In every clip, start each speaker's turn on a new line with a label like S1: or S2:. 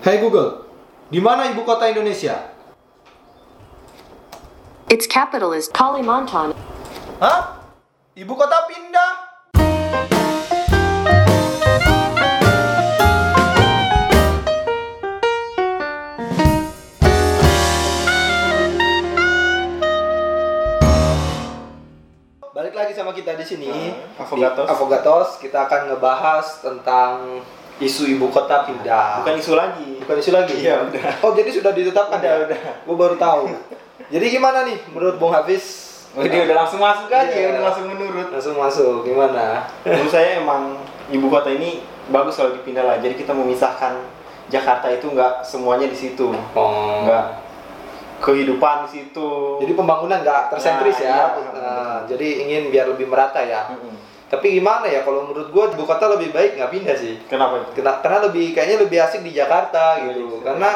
S1: Hey Google, di mana ibu kota Indonesia?
S2: Its capital is Kalimantan.
S1: Hah? Ibu kota pindah? Balik lagi sama kita di sini.
S3: Nah, Avogatos.
S1: Di Hmm, Avogatos, kita akan ngebahas tentang isu ibu kota pindah.
S3: Bukan isu lagi.
S1: Bukan isu lagi.
S3: Iya, udah.
S1: Oh, jadi sudah ditetapkan
S3: Udah,
S1: ya?
S3: udah.
S1: Gue baru tahu. jadi gimana nih menurut Bung Hafiz?
S3: Oh, dia udah langsung masuk aja,
S1: Iya.
S3: udah langsung menurut.
S1: langsung masuk gimana
S3: Menurut saya emang ibu kota ini bagus kalau dipindah lah. Jadi kita memisahkan Jakarta itu nggak semuanya di situ,
S1: oh
S3: nggak kehidupan di situ.
S1: jadi pembangunan nggak tersentris
S3: Nah,
S1: ya
S3: iya.
S1: Nah, jadi ingin biar lebih merata ya
S3: Mm-mm.
S1: tapi gimana ya kalau menurut gua ibu kota lebih baik nggak pindah sih
S3: kenapa itu?
S1: karena, karena lebih kayaknya lebih asik di Jakarta
S3: Iya,
S1: gitu karena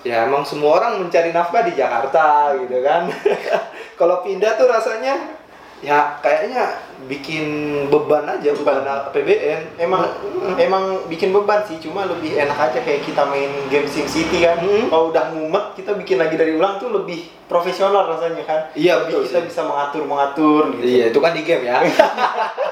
S1: ya emang semua orang mencari nafkah di Jakarta gitu kan kalau pindah tuh rasanya ya kayaknya bikin beban aja beban, APBN
S3: emang emang bikin beban sih, cuma lebih enak aja kayak kita main game SimCity kan.
S1: Mm.
S3: Kalau udah ngumet, kita bikin lagi dari ulang tuh lebih profesional rasanya kan.
S1: Iya,
S3: Lebih
S1: betul
S3: kita
S1: sih.
S3: bisa mengatur mengatur gitu.
S1: Iya, itu kan di game ya.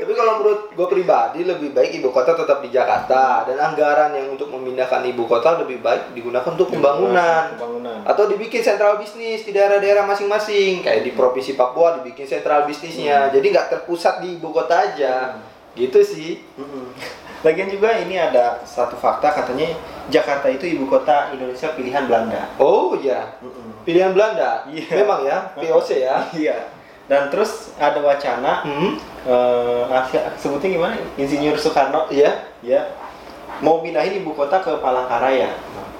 S1: Tapi kalau menurut gue pribadi lebih baik ibu kota tetap di Jakarta dan anggaran yang untuk memindahkan ibu kota lebih baik digunakan untuk pembangunan
S3: Pembangunan.
S1: atau dibikin sentral bisnis di daerah-daerah masing-masing kayak di provinsi Papua dibikin sentral bisnisnya jadi nggak terpusat di ibu kota aja gitu sih
S3: Mm-mm. Mm-hmm. Lagian juga ini ada satu fakta katanya Jakarta itu ibu kota Indonesia pilihan Belanda.
S1: oh ya
S3: Mm-mm.
S1: pilihan Belanda
S3: Iya.
S1: memang ya POC ya
S3: Iya. Dan terus ada wacana
S1: hmm
S3: eh, ah, sebutnya gimana? Insinyur Soekarno
S1: ya
S3: ya mau pindahin ibu kota ke Palangkaraya.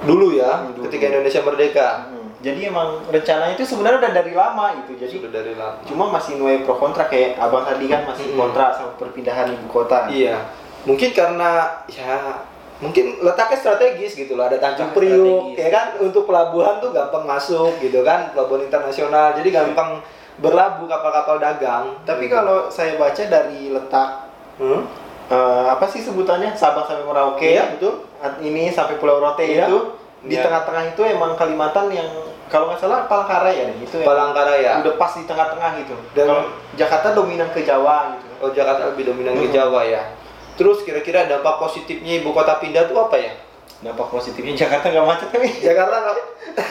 S1: dulu ya
S3: Dulu.
S1: ketika Indonesia merdeka
S3: Mm. Jadi emang rencananya itu sebenarnya udah dari lama itu. Jadi
S1: sudah dari lama
S3: cuma masih nuai pro kontra kayak abang tadi kan masih
S1: Mm-mm.
S3: kontra sama perpindahan ibu
S1: Hmm.
S3: kota.
S1: Iya, mungkin karena ya mungkin letaknya strategis gitu loh, ada Tanjung
S3: Letaknya
S1: Priuk,
S3: strategis.
S1: ya kan untuk pelabuhan tuh gampang masuk gitu kan, pelabuhan internasional, jadi gampang berlabuh kapal-kapal dagang.
S3: Tapi kalau saya baca dari letak
S1: Hmm?
S3: Eh, apa sih sebutannya Sabang sampai Merauke
S1: Iya, betul.
S3: At- ini sampai Pulau Rote
S1: Iya.
S3: itu di
S1: Iya.
S3: tengah-tengah itu emang Kalimantan yang kalau nggak salah Palangkaraya deh, itu emang
S1: Palangkaraya,
S3: udah pas di tengah-tengah gitu
S1: Dan-
S3: kalau Jakarta dominan ke Jawa gitu
S1: oh Jakarta lebih dominan ke
S3: Hmm.
S1: Jawa ya. Terus kira-kira dampak positifnya ibu kota pindah tuh apa ya?
S3: dampak positifnya Jakarta nggak macet kami
S1: Jakarta nggak-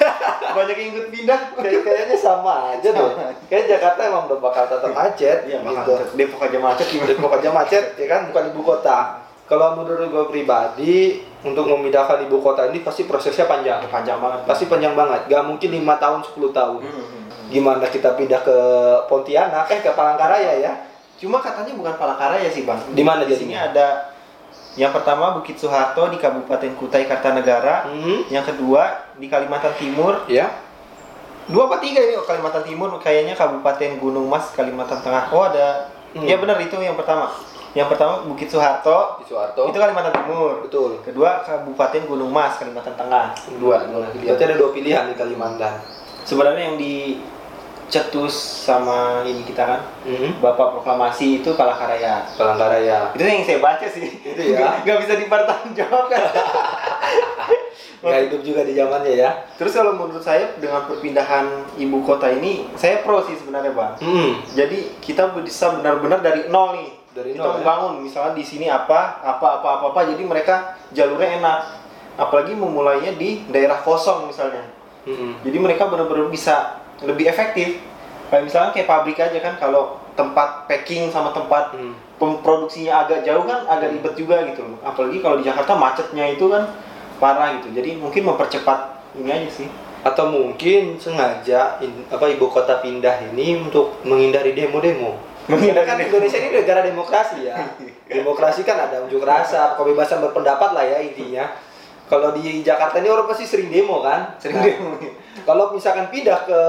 S3: banyak yang ikut pindah
S1: kayak- kayaknya sama aja tuh.
S3: Sama.
S1: Kayak Jakarta emang udah bakal tetap macet.
S3: Iya,
S1: gitu.
S3: makanya Depok aja macet gimana?
S1: Depok aja macet ya kan bukan ibu kota kalau menurut gue pribadi untuk memindahkan ibu kota ini pasti prosesnya panjang
S3: panjang banget.
S1: pasti panjang banget gak mungkin lima tahun 10 tahun
S3: Mm-mm.
S1: gimana kita pindah ke Pontianak eh ke Palangkaraya ya
S3: Cuma katanya bukan Palangkaraya sih bang.
S1: Di mana
S3: Di sini
S1: jadinya?
S3: ada yang pertama Bukit Soeharto di Kabupaten Kutai Kartanegara.
S1: hmm.
S3: Yang kedua di Kalimantan Timur
S1: ya
S3: dua apa tiga ini Kalimantan Timur kayaknya Kabupaten Gunung Mas Kalimantan Tengah oh ada
S1: Hmm.
S3: ya benar itu yang pertama yang pertama Bukit Soeharto
S1: di Soeharto
S3: itu Kalimantan Timur
S1: betul
S3: kedua Kabupaten Gunung Mas Kalimantan Tengah
S1: dua dua pilihan. berarti ada dua pilihan di Kalimantan
S3: sebenarnya yang dicetus sama ini kita kan
S1: hmm.
S3: Bapak Proklamasi itu Palangkaraya
S1: Palangkaraya
S3: itu yang saya baca sih
S1: Itu ya.
S3: nggak bisa dipertanggungjawabkan
S1: Ya, nggak hidup juga di zamannya ya
S3: terus kalau menurut saya dengan perpindahan ibu kota ini saya pro sih sebenarnya bang
S1: hmm.
S3: Jadi kita bisa benar-benar dari nol nih.
S1: Dari
S3: kita
S1: nol, ya.
S3: membangun misalnya di sini apa, apa, apa, apa, apa. Jadi mereka jalurnya enak. Apalagi memulainya di daerah kosong misalnya.
S1: Hmm.
S3: Jadi mereka benar-benar bisa lebih efektif. Kayak misalnya kayak pabrik aja kan kalau tempat packing sama tempat
S1: Hmm.
S3: pemproduksinya agak jauh kan agak ribet juga gitu loh. Apalagi kalau di Jakarta macetnya itu kan parah gitu. Jadi mungkin mempercepat ini aja sih.
S1: atau mungkin sengaja in- apa ibu kota pindah ini untuk menghindari demo-demo. Karena
S3: Menghindari
S1: kan
S3: demo.
S1: Indonesia ini negara demokrasi ya. Demokrasi kan ada unjuk rasa, kebebasan berpendapat lah ya intinya. Kalau di Jakarta ini orang pasti sering demo kan. Nah,
S3: iya.
S1: Kalau misalkan pindah ke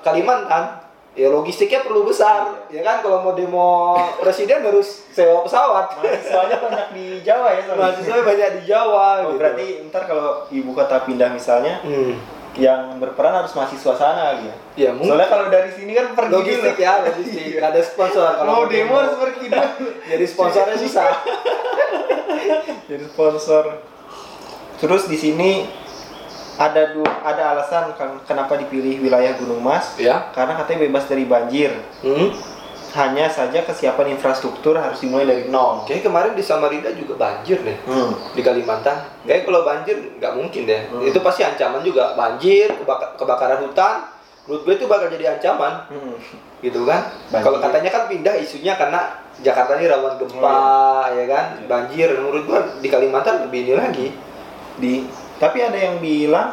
S1: Kalimantan, ya logistiknya perlu besar,
S3: Iya.
S1: ya kan? Kalau mau demo presiden harus sewa
S3: Iya.
S1: pesawat.
S3: Soalnya banyak di Jawa ya soalnya.
S1: Mahasiswa banyak di Jawa.
S3: Oh,
S1: gitu.
S3: berarti ntar kalau ibu kota pindah misalnya
S1: Hmm,
S3: yang berperan harus mahasiswa sana kali ya.
S1: ya mungkin.
S3: Soalnya kalau dari sini kan pergi
S1: logistik
S3: dulu.
S1: ya logistik Gak ada sponsor kalau
S3: Mau demo harus Iya. pergi dulu.
S1: jadi sponsornya susah
S3: Jadi sponsor. Terus di sini ada du- ada alasan kan- kenapa dipilih wilayah Gunung Mas
S1: Ya.
S3: karena katanya bebas dari banjir.
S1: Hmm.
S3: Hanya saja kesiapan infrastruktur harus dimulai dari nol.
S1: Kayaknya kemarin di Samarinda juga banjir deh.
S3: Hmm.
S1: Di Kalimantan. Kayaknya kalau banjir nggak mungkin deh.
S3: Hmm.
S1: Itu pasti ancaman juga. Banjir, kebaka- kebakaran hutan. Menurut gue itu bakal jadi ancaman.
S3: Hmm.
S1: gitu kan
S3: Banjir.
S1: kalau katanya kan pindah isunya karena Jakarta ini rawan gempa ya kan
S3: Iya.
S1: banjir menurut gua di Kalimantan lebih ini lagi
S3: Di tapi ada yang bilang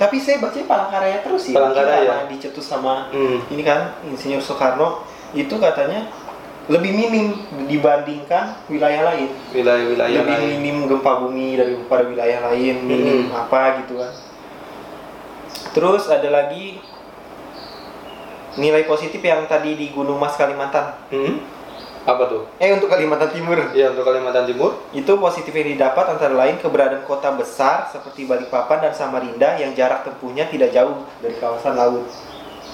S3: tapi saya baca Palangkaraya terus sih.
S1: Palangkaraya.
S3: Karena dicetus sama
S1: hmm.
S3: ini kan Insinyur Soekarno itu katanya lebih minim dibandingkan wilayah lain.
S1: wilayah-wilayah
S3: lebih
S1: lain
S3: minim gempa bumi daripada wilayah lain minim
S1: Hmm.
S3: apa gitu kan terus ada lagi nilai positif yang tadi di Gunung Mas Kalimantan
S1: Hmm? apa tuh
S3: eh untuk Kalimantan Timur
S1: ya untuk Kalimantan Timur
S3: itu positif yang didapat antara lain keberadaan kota besar seperti Balikpapan dan Samarinda yang jarak tempuhnya tidak jauh dari kawasan laut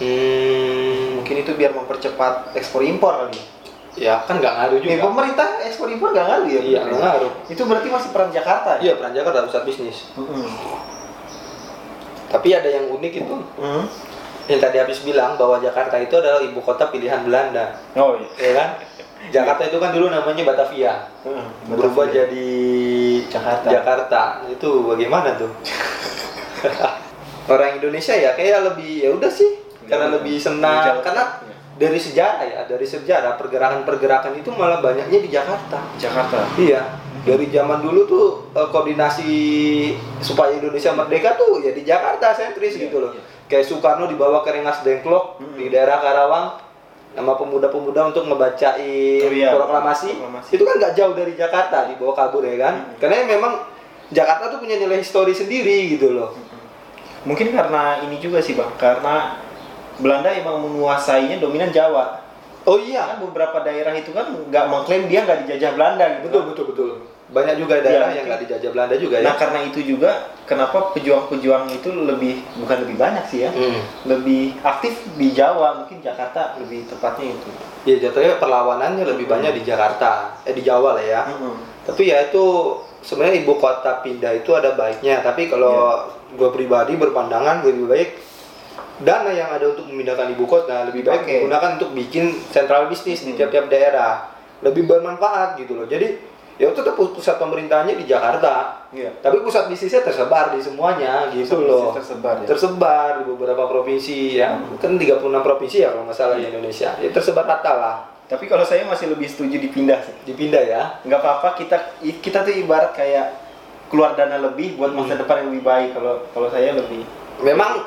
S1: hmm.
S3: mungkin itu biar mempercepat ekspor impor kali ya.
S1: ya kan nggak ngaruh
S3: Eh,
S1: juga
S3: pemerintah ekspor impor gak ngaruh ya?
S1: iya nggak ngaruh
S3: Itu berarti masih peran Jakarta ya? Hmm.
S1: iya peran Jakarta pusat bisnis
S3: Mm-mm.
S1: tapi ada yang unik itu
S3: Mm.
S1: yang tadi habis bilang bahwa Jakarta itu adalah ibu kota pilihan Belanda
S3: Oh iya.
S1: ya kan Jakarta itu kan dulu namanya Batavia
S3: Mm,
S1: berubah
S3: betul.
S1: jadi
S3: Jakarta.
S1: Jakarta itu bagaimana tuh? Orang Indonesia ya kayak lebih ya udah sih karena
S3: Ya,
S1: lebih senang
S3: Jakarta.
S1: karena
S3: Ya.
S1: dari sejarah ya dari sejarah pergerakan-pergerakan itu malah banyaknya di Jakarta.
S3: Jakarta.
S1: Iya dari zaman dulu tuh eh, koordinasi supaya Indonesia merdeka tuh ya di Jakarta sentris
S3: Iya,
S1: gitu loh.
S3: iya. Hmm.
S1: Kayak Soekarno dibawa ke Rengas Dengklok
S3: Mm-mm.
S1: di daerah Karawang sama pemuda-pemuda untuk ngebacain
S3: Oh, iya.
S1: proklamasi.
S3: Proklamasi. Hmm.
S1: Itu kan nggak jauh dari Jakarta dibawa kabur ya kan?
S3: Mm-mm.
S1: Karena memang Jakarta tuh punya nilai histori sendiri gitu loh.
S3: Hmm. Mungkin karena ini juga sih bang, karena Belanda emang menguasainya dominan Jawa.
S1: Oh iya,
S3: Kan beberapa daerah itu kan nggak mengklaim dia nggak dijajah Belanda gitu.
S1: betul
S3: kan.
S1: betul betul. Banyak juga daerah yang
S3: Iya, betul.
S1: nggak dijajah Belanda juga ya.
S3: Nah karena itu juga kenapa pejuang-pejuang itu lebih bukan lebih banyak sih ya,
S1: Hmm.
S3: lebih aktif di Jawa mungkin Jakarta lebih tepatnya itu.
S1: Ya jatuhnya perlawanannya lebih
S3: Hmm.
S1: banyak di Jakarta, eh di Jawa lah ya. tapi ya itu sebenarnya ibu kota pindah itu ada baiknya tapi kalau
S3: Iya.
S1: gue pribadi berpandangan lebih baik dana yang ada untuk memindahkan ibu kota lebih baik
S3: Oke.
S1: digunakan untuk bikin sentral bisnis di
S3: Hmm.
S1: tiap-tiap daerah lebih bermanfaat gitu loh jadi ya tetap pusat pemerintahannya di Jakarta
S3: Iya.
S1: tapi pusat bisnisnya tersebar di semuanya gitu
S3: Pusat
S1: loh
S3: bisnis tersebar ya.
S1: tersebar di beberapa provinsi ya kan 36 provinsi ya kalau nggak salah di Indonesia ya tersebar rata lah
S3: Tapi kalau saya masih lebih setuju dipindah sih.
S1: dipindah ya
S3: nggak apa-apa kita kita tuh ibarat kayak keluar dana lebih buat masa depan yang lebih baik kalau kalau saya lebih
S1: memang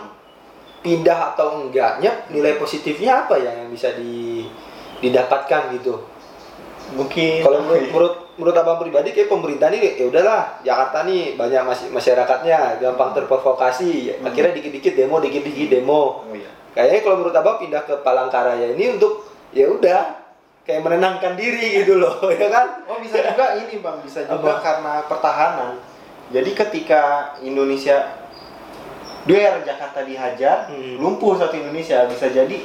S1: pindah atau enggaknya nilai positifnya apa ya yang bisa di- didapatkan gitu
S3: mungkin
S1: kalau menurut, menurut menurut abang pribadi kayak pemerintah nih ya udahlah Jakarta nih banyak mas- masyarakatnya gampang terprovokasi
S3: Hmm.
S1: akhirnya dikit-dikit demo dikit-dikit demo
S3: oh iya
S1: kayaknya kalau menurut abang pindah ke Palangkaraya ini untuk ya udah kayak menenangkan diri gitu loh ya kan
S3: oh bisa juga ini bang bisa juga
S1: Apa?
S3: karena pertahanan jadi ketika Indonesia duel Jakarta dihajar
S1: Hmm.
S3: lumpuh satu Indonesia bisa jadi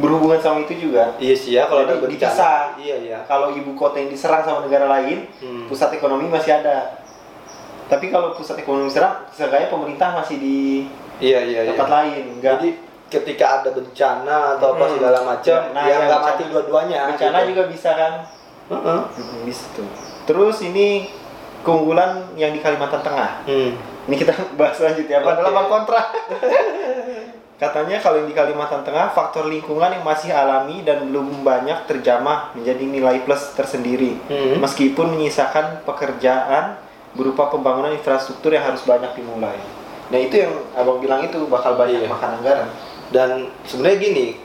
S3: berhubungan sama itu juga
S1: iya sih ya kalau
S3: Jadi
S1: ada bencana
S3: dipisah.
S1: iya ya
S3: kalau ibu kota yang diserang sama negara lain
S1: Hmm.
S3: pusat ekonomi masih ada tapi kalau pusat ekonomi serang seenggaknya pemerintah masih di
S1: iya iya iya
S3: tempat lain enggak
S1: Jadi ketika ada bencana atau apa
S3: Hmm.
S1: segala macam,
S3: Nah,
S1: yang
S3: ya,
S1: nggak
S3: bencana.
S1: mati dua-duanya. gitu.
S3: bencana juga bisa kan
S1: Heeh.
S3: bisa tuh terus ini keunggulan yang di Kalimantan Tengah
S1: Hmm.
S3: ini kita bahas selanjutnya apa
S1: Oke.
S3: adalah bang kontra katanya kalau yang di Kalimantan Tengah faktor lingkungan yang masih alami dan belum banyak terjamah menjadi nilai plus tersendiri
S1: Hmm.
S3: meskipun menyisakan pekerjaan berupa pembangunan infrastruktur yang harus banyak dimulai nah itu yang abang bilang itu bakal
S1: Iya.
S3: banyak makan anggaran
S1: Dan sebenarnya gini,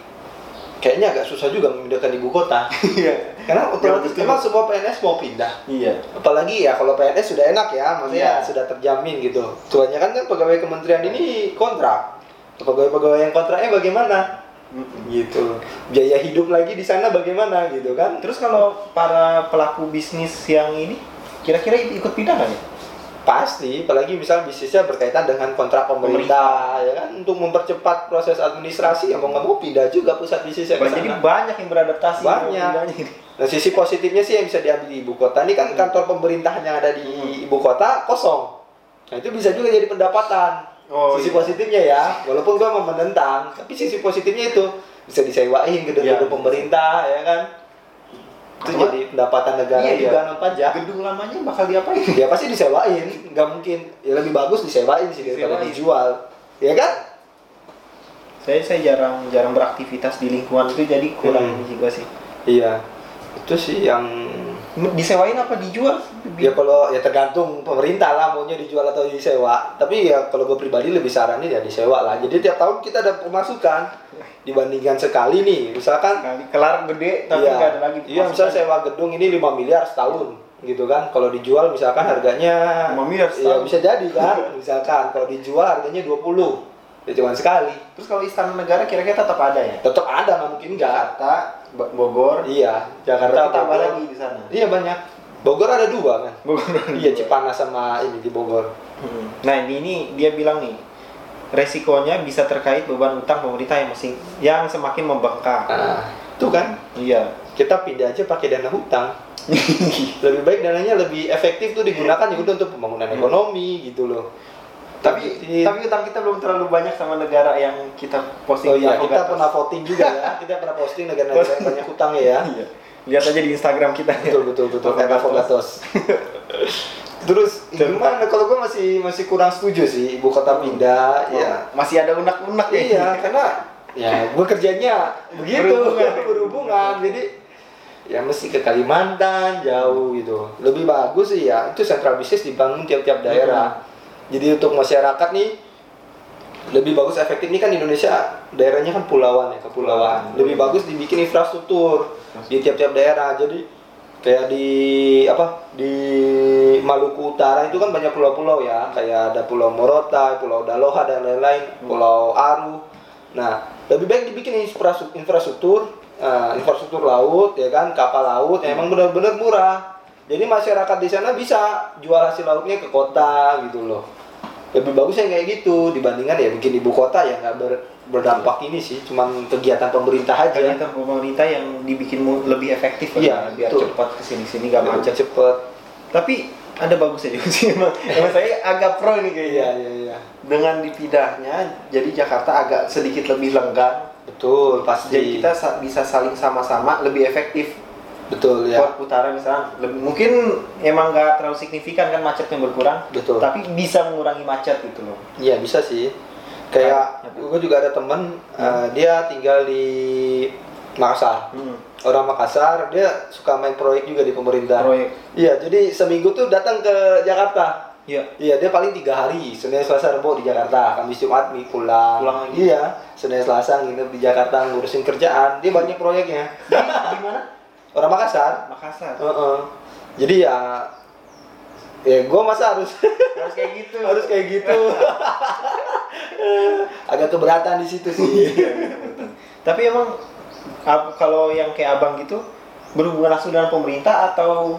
S1: kayaknya agak susah juga memindahkan ibu kota.
S3: iya
S1: Karena otomatis
S3: betul.
S1: memang semua PNS mau pindah.
S3: iya
S1: Apalagi ya kalau PNS sudah enak ya, maksudnya
S3: Iya.
S1: sudah terjamin gitu. Kebanyakan kan pegawai kementerian ini kontrak. Pegawai-pegawai yang kontraknya bagaimana? Gitu. Biaya hidup lagi di sana bagaimana gitu kan?
S3: Terus kalau para pelaku bisnis yang ini kira-kira ikut pindah nggak ya?
S1: Pasti, apalagi misal bisnisnya berkaitan dengan kontrak pemerintah, ya kan untuk mempercepat proses administrasi ya mau nggak mau pindah juga pusat bisnisnya Ya, ke
S3: Jadi
S1: sana.
S3: banyak yang beradaptasi.
S1: Banyak.
S3: Pindahnya ini.
S1: Nah sisi
S3: Hmm.
S1: positifnya sih yang bisa diambil di ibu kota ini kan kantor pemerintahan yang ada di ibu kota kosong, Nah itu bisa juga jadi pendapatan.
S3: Oh,
S1: sisi
S3: iya.
S1: positifnya ya, walaupun gua mau menentang, tapi sisi positifnya itu bisa disewain ke gedung
S3: Iya.
S1: pemerintah ya kan. Itu
S3: Cuma-
S1: jadi pendapatan negara
S3: Iya,
S1: juga
S3: iya.
S1: non pajak.
S3: Gedung lamanya bakal diapain?
S1: Ya pasti disewain, nggak mungkin. Ya lebih bagus disewain sih daripada
S3: Disewain.
S1: dijual. Ya kan?
S3: Saya saya jarang jarang beraktivitas di lingkungan itu jadi kurang
S1: Hmm.
S3: ini juga sih.
S1: Iya. Itu sih yang
S3: Disewain apa dijual?
S1: ya kalau ya tergantung pemerintah lah maunya dijual atau disewa. Tapi ya kalau gue pribadi lebih saranin ya disewa lah. Jadi tiap tahun kita ada pemasukan dibandingkan sekali nih. Misalkan
S3: Kali kelar gede tapi
S1: iya.
S3: nggak ada lagi.
S1: Iya, misalnya sewa gedung ini 5 miliar setahun gitu kan. Kalau dijual misalkan harganya
S3: 5 Iya. miliar
S1: Iya,
S3: setahun.
S1: bisa jadi kan. misalkan kalau dijual harganya 20. Ya cuma sekali.
S3: Terus kalau istana negara kira-kira tetap ada ya?
S1: Tetap ada nggak mungkin enggak.
S3: Jakarta, Ba- Bogor,
S1: Iya, Jakarta
S3: Berarti tambah
S1: Bogor.
S3: lagi di sana.
S1: Iya banyak. Bogor ada dua kan.
S3: Bogor.
S1: Iya Cipanas sama ini di Bogor.
S3: Hmm. Nah ini, ini dia bilang nih resikonya bisa terkait beban utang pemerintah yang masing yang semakin membengkak.
S1: Nah, itu kan
S3: Iya.
S1: kita pindah aja pakai dana hutang. lebih baik dananya lebih efektif tuh digunakan ya udah untuk pembangunan
S3: Hmm.
S1: ekonomi gitu loh.
S3: Tapi tapi utang kita belum terlalu banyak sama negara yang kita
S1: oh
S3: posting. di
S1: iya kita
S3: Avogatos.
S1: pernah voting juga ya. Kita pernah posting negara-negara yang banyak hutang ya.
S3: Iya. Lihat aja di Instagram kita. ya.
S1: betul betul betul kayak
S3: Avogatos.
S1: Avogatos. Terus gimana kalau gue masih masih kurang setuju sih ibu kota pindah
S3: Oh,
S1: ya
S3: Masih ada unak-unak ya.
S1: iya karena ya gue kerjanya begitu
S3: Berhubungan.
S1: berhubungan, jadi ya mesti ke Kalimantan jauh gitu lebih bagus sih ya itu sentra bisnis dibangun tiap-tiap daerah jadi untuk masyarakat nih lebih bagus efektif ini kan Indonesia daerahnya kan pulauan ya kepulauan
S3: Pulauan.
S1: lebih bagus dibikin infrastruktur di tiap-tiap daerah jadi kayak di apa di Maluku Utara itu kan banyak pulau-pulau ya kayak ada Pulau Morotai, Pulau Daloha dan lain-lain, Pulau Aru. Nah lebih baik dibikin infrastruktur infrastruktur eh, infrastruktur laut ya kan kapal laut yang emang benar-benar murah. Jadi masyarakat di sana bisa jual hasil lautnya ke kota gitu loh. Lebih bagus yang kayak gitu dibandingkan ya bikin ibu kota ya nggak ber- berdampak ini sih, cuman kegiatan pemerintah aja.
S3: Ternyata pemerintah yang dibikin mu- lebih efektif
S1: Iya,
S3: ya, biar
S1: betul.
S3: cepat kesini-sini gak macet.
S1: Lebih cepet.
S3: Tapi ada bagusnya juga sih emang. Emang saya agak pro nih kayaknya.
S1: Iya iya iya.
S3: dengan dipindahnya jadi Jakarta agak sedikit lebih lenggang
S1: Betul, pasti.
S3: jadi kita sa- bisa saling sama-sama lebih efektif
S1: betul ya.
S3: buat utara misalnya lebih, mungkin emang nggak terlalu signifikan kan macetnya berkurang
S1: Betul.
S3: tapi bisa mengurangi macet gitu loh
S1: Iya, bisa sih. Kayak
S3: Kan,
S1: gue juga ada temen, eh, dia tinggal di Makassar. Orang Makassar, dia suka main proyek juga di pemerintah.
S3: Proyek.
S1: Iya, jadi seminggu tuh datang ke Jakarta.
S3: iya
S1: Iya, dia paling tiga hari. Senin, Selasa, Rabu di Jakarta. Kamis, Jumat, Mi pulang.
S3: Pulang lagi.
S1: Iya. Senin, Selasa nginep di Jakarta ngurusin kerjaan. Dia banyak proyeknya.
S3: di mana
S1: Orang Makassar.
S3: Makassar
S1: Heeh. Jadi ya, ya gue masa harus
S3: harus kayak gitu
S1: harus kayak gitu agak keberatan di situ sih
S3: tapi emang ab- kalau yang kayak abang gitu berhubungan langsung dengan pemerintah atau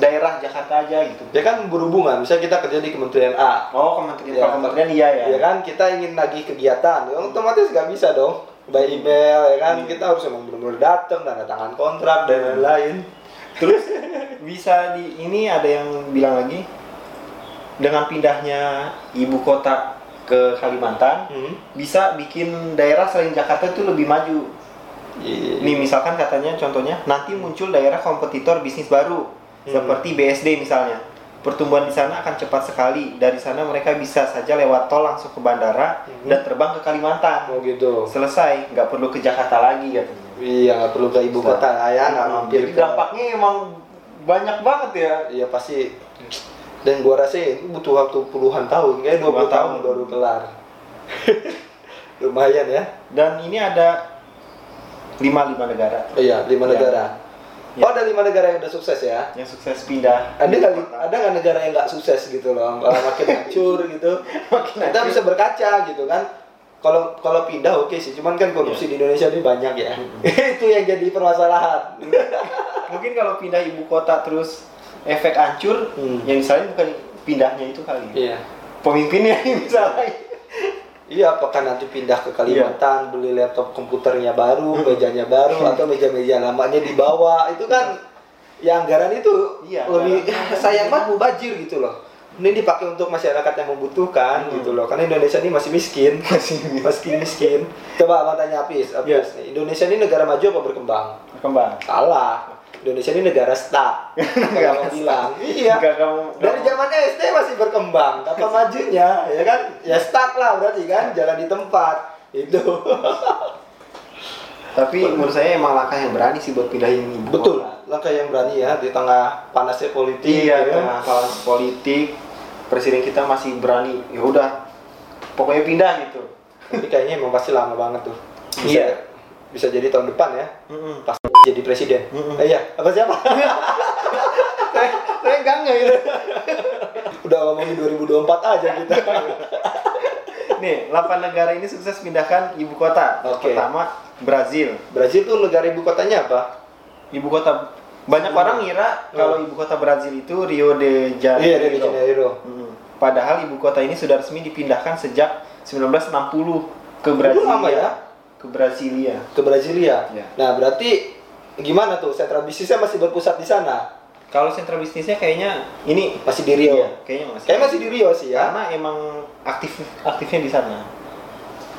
S3: daerah Jakarta aja gitu
S1: ya kan berhubungan misalnya kita kerja di kementerian A
S3: oh kementerian
S1: Iya.
S3: kalau kementerian iya ya
S1: ya kan kita ingin nagih kegiatan ya otomatis nggak bisa dong by email ya
S3: Iya.
S1: kan kita harus emang benar-benar datang tanda tangan kontrak
S3: Hmm.
S1: dan lain-lain
S3: Terus bisa di ini ada yang bilang lagi dengan pindahnya ibu kota ke Kalimantan
S1: hmm.
S3: bisa bikin daerah selain Jakarta itu lebih maju.
S1: Iya.
S3: Nih misalkan katanya contohnya nanti muncul daerah kompetitor bisnis baru
S1: Hmm.
S3: seperti BSD misalnya. Pertumbuhan di sana akan cepat sekali. Dari sana mereka bisa saja lewat tol langsung ke bandara
S1: Mhm.
S3: dan terbang ke Kalimantan.
S1: mau gitu
S3: Selesai, nggak perlu ke Jakarta lagi katanya.
S1: iya nggak perlu ke ibu kota lah ya nggak mampir
S3: Jadi
S1: ke-
S3: dampaknya emang banyak banget ya.
S1: iya pasti dan gua rasa ya, ini butuh waktu puluhan tahun kayak 20 tahun,
S3: Puluhan tahun.
S1: baru kelar lumayan ya
S3: Dan ini ada lima lima negara
S1: Iya, lima
S3: Iya.
S1: negara.
S3: Iya.
S1: Oh, ada lima negara yang udah sukses ya.
S3: yang sukses pindah.
S1: Ada nggak ada nggak negara yang nggak sukses gitu loh, malah makin hancur gitu. Kita bisa berkaca gitu kan. Kalau kalau pindah oke sih, cuman kan korupsi di Indonesia ini banyak ya. Itu yang jadi permasalahan.
S3: Mungkin kalau pindah ibu kota terus efek hancur,
S1: Hmm.
S3: yang disalahin bukan pindahnya itu kali. ya.
S1: Iya.
S3: Pemimpinnya yang disalahin.
S1: Iya, apakah nanti pindah ke
S3: Iya.
S1: Kalimantan, beli laptop komputernya
S3: Hmm.
S1: baru, mejanya baru, atau meja-meja lamanya dibawa? Itu kan, ya anggaran itu
S3: Iya,
S1: lebih
S3: anggaran.
S1: sayang banget mubajir gitu loh. ini dipakai untuk masyarakat yang membutuhkan gitu loh karena Indonesia ini masih miskin
S3: Hmm. Masih Iya.
S1: miskin miskin coba abang tanya Apis Apis
S3: Yes.
S1: nih, Indonesia ini negara maju apa berkembang
S3: berkembang.
S1: salah Indonesia ini negara stuck
S3: Negara
S1: kalau
S3: stuck.
S1: bilang iya
S3: Enggak, kamu,
S1: dari zaman SD masih berkembang kapan majunya ya kan ya stuck lah berarti kan jalan di tempat itu
S3: Tapi menurut saya emang langkah yang berani sih buat pindahin ibu.
S1: betul langkah yang berani ya di tengah panasnya politik
S3: Iya,
S1: ya kan?
S3: tengah kaos politik presiden kita masih berani. Ya udah, pokoknya pindah gitu.
S1: tapi kayaknya emang pasti lama banget tuh bisa,
S3: Iya.
S1: bisa jadi tahun depan ya pas jadi presiden
S3: Mm-mm.
S1: Eh, iya apa siapa
S3: Saya enggak nggak gitu.
S1: udah ngomongin 2024 aja kita
S3: Nih, 8 negara ini sukses pindahkan ibu kota.
S1: Oke.
S3: Pertama, Brazil.
S1: Brazil tuh negara ibu kotanya apa
S3: Ibu kota banyak orang ngira kalau ibu kota Brazil itu Rio de Janeiro.
S1: Hmm. iya Rio de Janeiro
S3: Mm. Padahal ibu kota ini sudah resmi dipindahkan sejak 1960 ke
S1: Dulu
S3: Brasilia.
S1: lama ya?
S3: Ke Brasilia.
S1: ke Brasilia
S3: Iya.
S1: nah berarti gimana tuh sentra bisnisnya masih berpusat di sana
S3: Kalau sentra bisnisnya kayaknya ini
S1: masih di Rio
S3: Iya, kayaknya masih.
S1: Kayaknya masih di Rio sih ya.
S3: Karena emang aktif aktifnya di sana.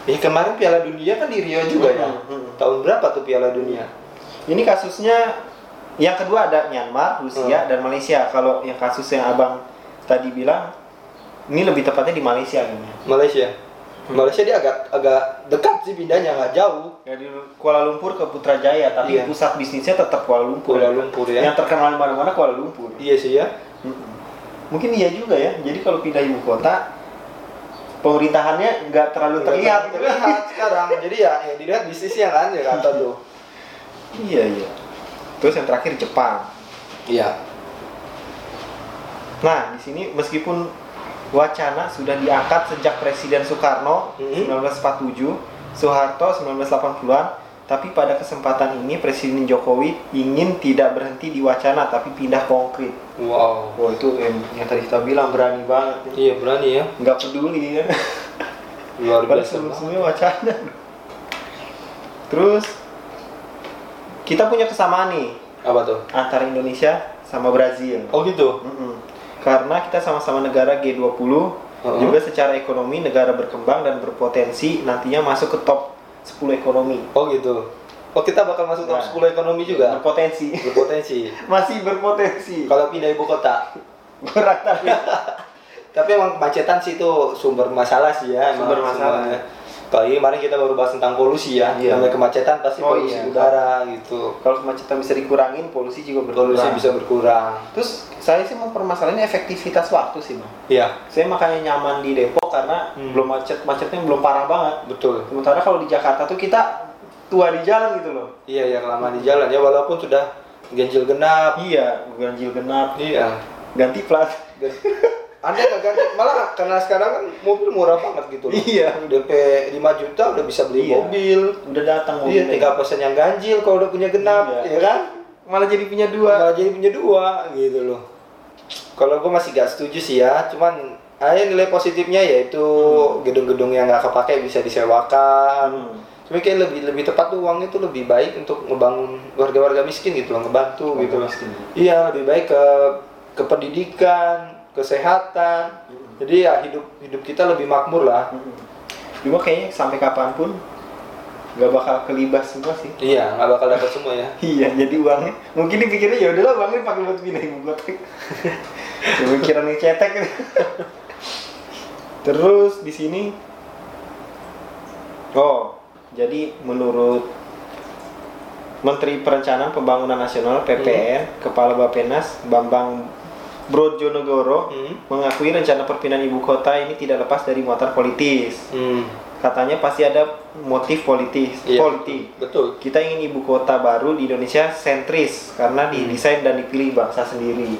S1: Eh, kemarin Piala Dunia kan di Rio juga ya.
S3: Hmm, hmm.
S1: Tahun berapa tuh Piala Dunia?
S3: Ini kasusnya yang kedua ada Myanmar,
S1: Hmm.
S3: Rusia dan Malaysia. Kalau yang kasus yang Abang tadi bilang ini lebih tepatnya di Malaysia kayaknya.
S1: Malaysia.
S3: Hmm.
S1: Malaysia dia agak agak dekat sih pindahnya nggak jauh.
S3: Dari Ya, Kuala Lumpur ke Putrajaya, tapi
S1: Iya.
S3: pusat bisnisnya tetap Kuala Lumpur.
S1: Kuala Lumpur ya.
S3: Yang terkenal di mana-mana Kuala Lumpur.
S1: Iya sih ya.
S3: Mm-mm. Mungkin iya juga ya. Jadi kalau pindah ibu kota pemerintahannya nggak terlalu
S1: Iya,
S3: terlihat.
S1: terlihat sekarang. Jadi ya yang dilihat bisnisnya kan ya kata tuh.
S3: iya iya. Terus yang terakhir Jepang.
S1: Iya.
S3: Nah, di sini meskipun wacana sudah diangkat sejak Presiden Soekarno
S1: Mhm.
S3: 1947, Soeharto 1980-an, tapi pada kesempatan ini Presiden Jokowi ingin tidak berhenti di wacana tapi pindah konkret.
S1: Wow.
S3: Wah, Oh, itu yang, yang tadi kita bilang berani banget. ya.
S1: Iya berani ya.
S3: Nggak peduli ya.
S1: Luar
S3: Padahal
S1: biasa.
S3: sebelum-sebelumnya wacana. Terus kita punya kesamaan nih
S1: Apa tuh?
S3: antara Indonesia sama Brazil.
S1: Oh gitu.
S3: Mm-mm. Karena kita sama-sama negara G20,
S1: Uh-uh.
S3: juga secara ekonomi negara berkembang dan berpotensi nantinya masuk ke top 10 ekonomi.
S1: Oh gitu. Oh kita bakal masuk top
S3: Nah.
S1: 10 ekonomi juga.
S3: Berpotensi.
S1: Berpotensi.
S3: Masih berpotensi.
S1: Kalau pindah ibu kota,
S3: Kurang tapi.
S1: Tapi emang kemacetan sih itu sumber masalah sih ya. emang
S3: Sumber masalah.
S1: semuanya. Apalagi kemarin kita baru bahas tentang polusi ya.
S3: Iya.
S1: Namanya kemacetan pasti
S3: Oh,
S1: polusi
S3: iya.
S1: udara gitu.
S3: Kalau kemacetan bisa dikurangin, polusi juga berkurang.
S1: Polusi bisa berkurang.
S3: Terus saya sih mau permasalahannya efektivitas waktu sih, Bang.
S1: Iya,
S3: Saya makanya nyaman di Depok karena
S1: Hmm.
S3: belum macet, macetnya belum parah banget.
S1: betul.
S3: Sementara kalau di Jakarta tuh kita tua di jalan gitu loh.
S1: Iya, yang lama di jalan ya walaupun sudah ganjil genap.
S3: Iya, ganjil genap,
S1: Iya.
S3: ganti plat.
S1: Gan- Anda nggak ganti, malah karena sekarang kan mobil murah banget gitu loh.
S3: Iya.
S1: DP 5 juta udah bisa beli
S3: Iya.
S1: mobil.
S3: Udah
S1: Iya,
S3: datang mobilnya.
S1: tiga persen yang ganjil kalau udah punya genap,
S3: Iya.
S1: ya kan?
S3: malah jadi punya dua.
S1: malah jadi punya dua gitu loh kalau gue masih gak setuju sih ya cuman ada nilai positifnya yaitu gedung-gedung yang nggak kepake bisa disewakan cuma kayak lebih lebih tepat tuh uangnya tuh lebih baik untuk ngebangun warga-warga miskin gitu loh ngebantu
S3: Warga
S1: gitu loh
S3: miskin.
S1: iya lebih baik ke ke pendidikan kesehatan jadi ya hidup hidup kita lebih makmur lah
S3: Cuma kayaknya sampai kapanpun nggak bakal kelibas semua sih.
S1: iya nggak bakal dapat semua ya
S3: Iya, jadi uangnya mungkin dipikirnya ya udahlah uangnya pakai buat pindah ibu kota. Ya, Pikiran yang cetek. gitu. Terus di sini Oh, jadi menurut Menteri Perencanaan Pembangunan Nasional
S1: Hmm.
S3: PPN, Kepala Bappenas Bambang Brojonegoro
S1: Hmm.
S3: mengakui rencana perpindahan ibu kota ini tidak lepas dari muatan politis.
S1: hmm.
S3: Katanya pasti ada motif politis,
S1: iya.
S3: politik.
S1: betul
S3: Kita ingin ibu kota baru di Indonesia sentris karena didesain dan dipilih bangsa sendiri.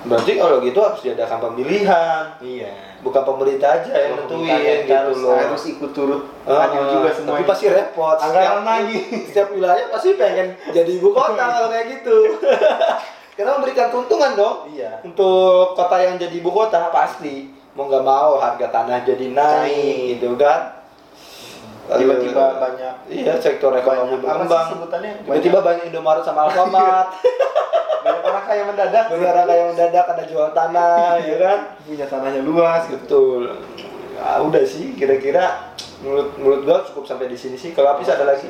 S1: berarti kalau gitu harus diadakan pemilihan
S3: Iya.
S1: bukan pemerintah aja yang nentuin gitu
S3: harus,
S1: loh.
S3: harus ikut turut
S1: Eh,
S3: adil juga semua.
S1: tapi pasti repot.
S3: Anggaran lagi.
S1: Setiap wilayah pasti pengen jadi ibu kota kalau kayak gitu. Karena memberikan keuntungan dong.
S3: Iya.
S1: Untuk kota yang jadi ibu kota pasti mau nggak mau harga tanah jadi
S3: Naik.
S1: naik gitu kan. Aduh.
S3: Tiba-tiba banyak
S1: iya sektor ekonomi
S3: banyak- apa sih
S1: berkembang.
S3: sebutannya?
S1: Tiba-tiba banyak Indomaret sama Alfamart. banyak orang kaya mendadak banyak orang kaya mendadak karena jual tanah ya kan
S3: punya tanahnya luas gitu
S1: betul ya, udah sih kira-kira menurut menurut gua cukup sampai di sini sih kalau habis ada lagi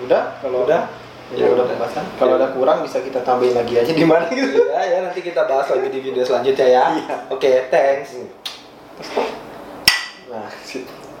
S3: udah kalau
S1: Udah?
S3: ya, udah pembahasan kalau ada kurang bisa kita tambahin lagi aja di mana gitu
S1: ya ya nanti kita bahas lagi Iya. di video selanjutnya ya
S3: Iya.
S1: oke thanks
S3: nah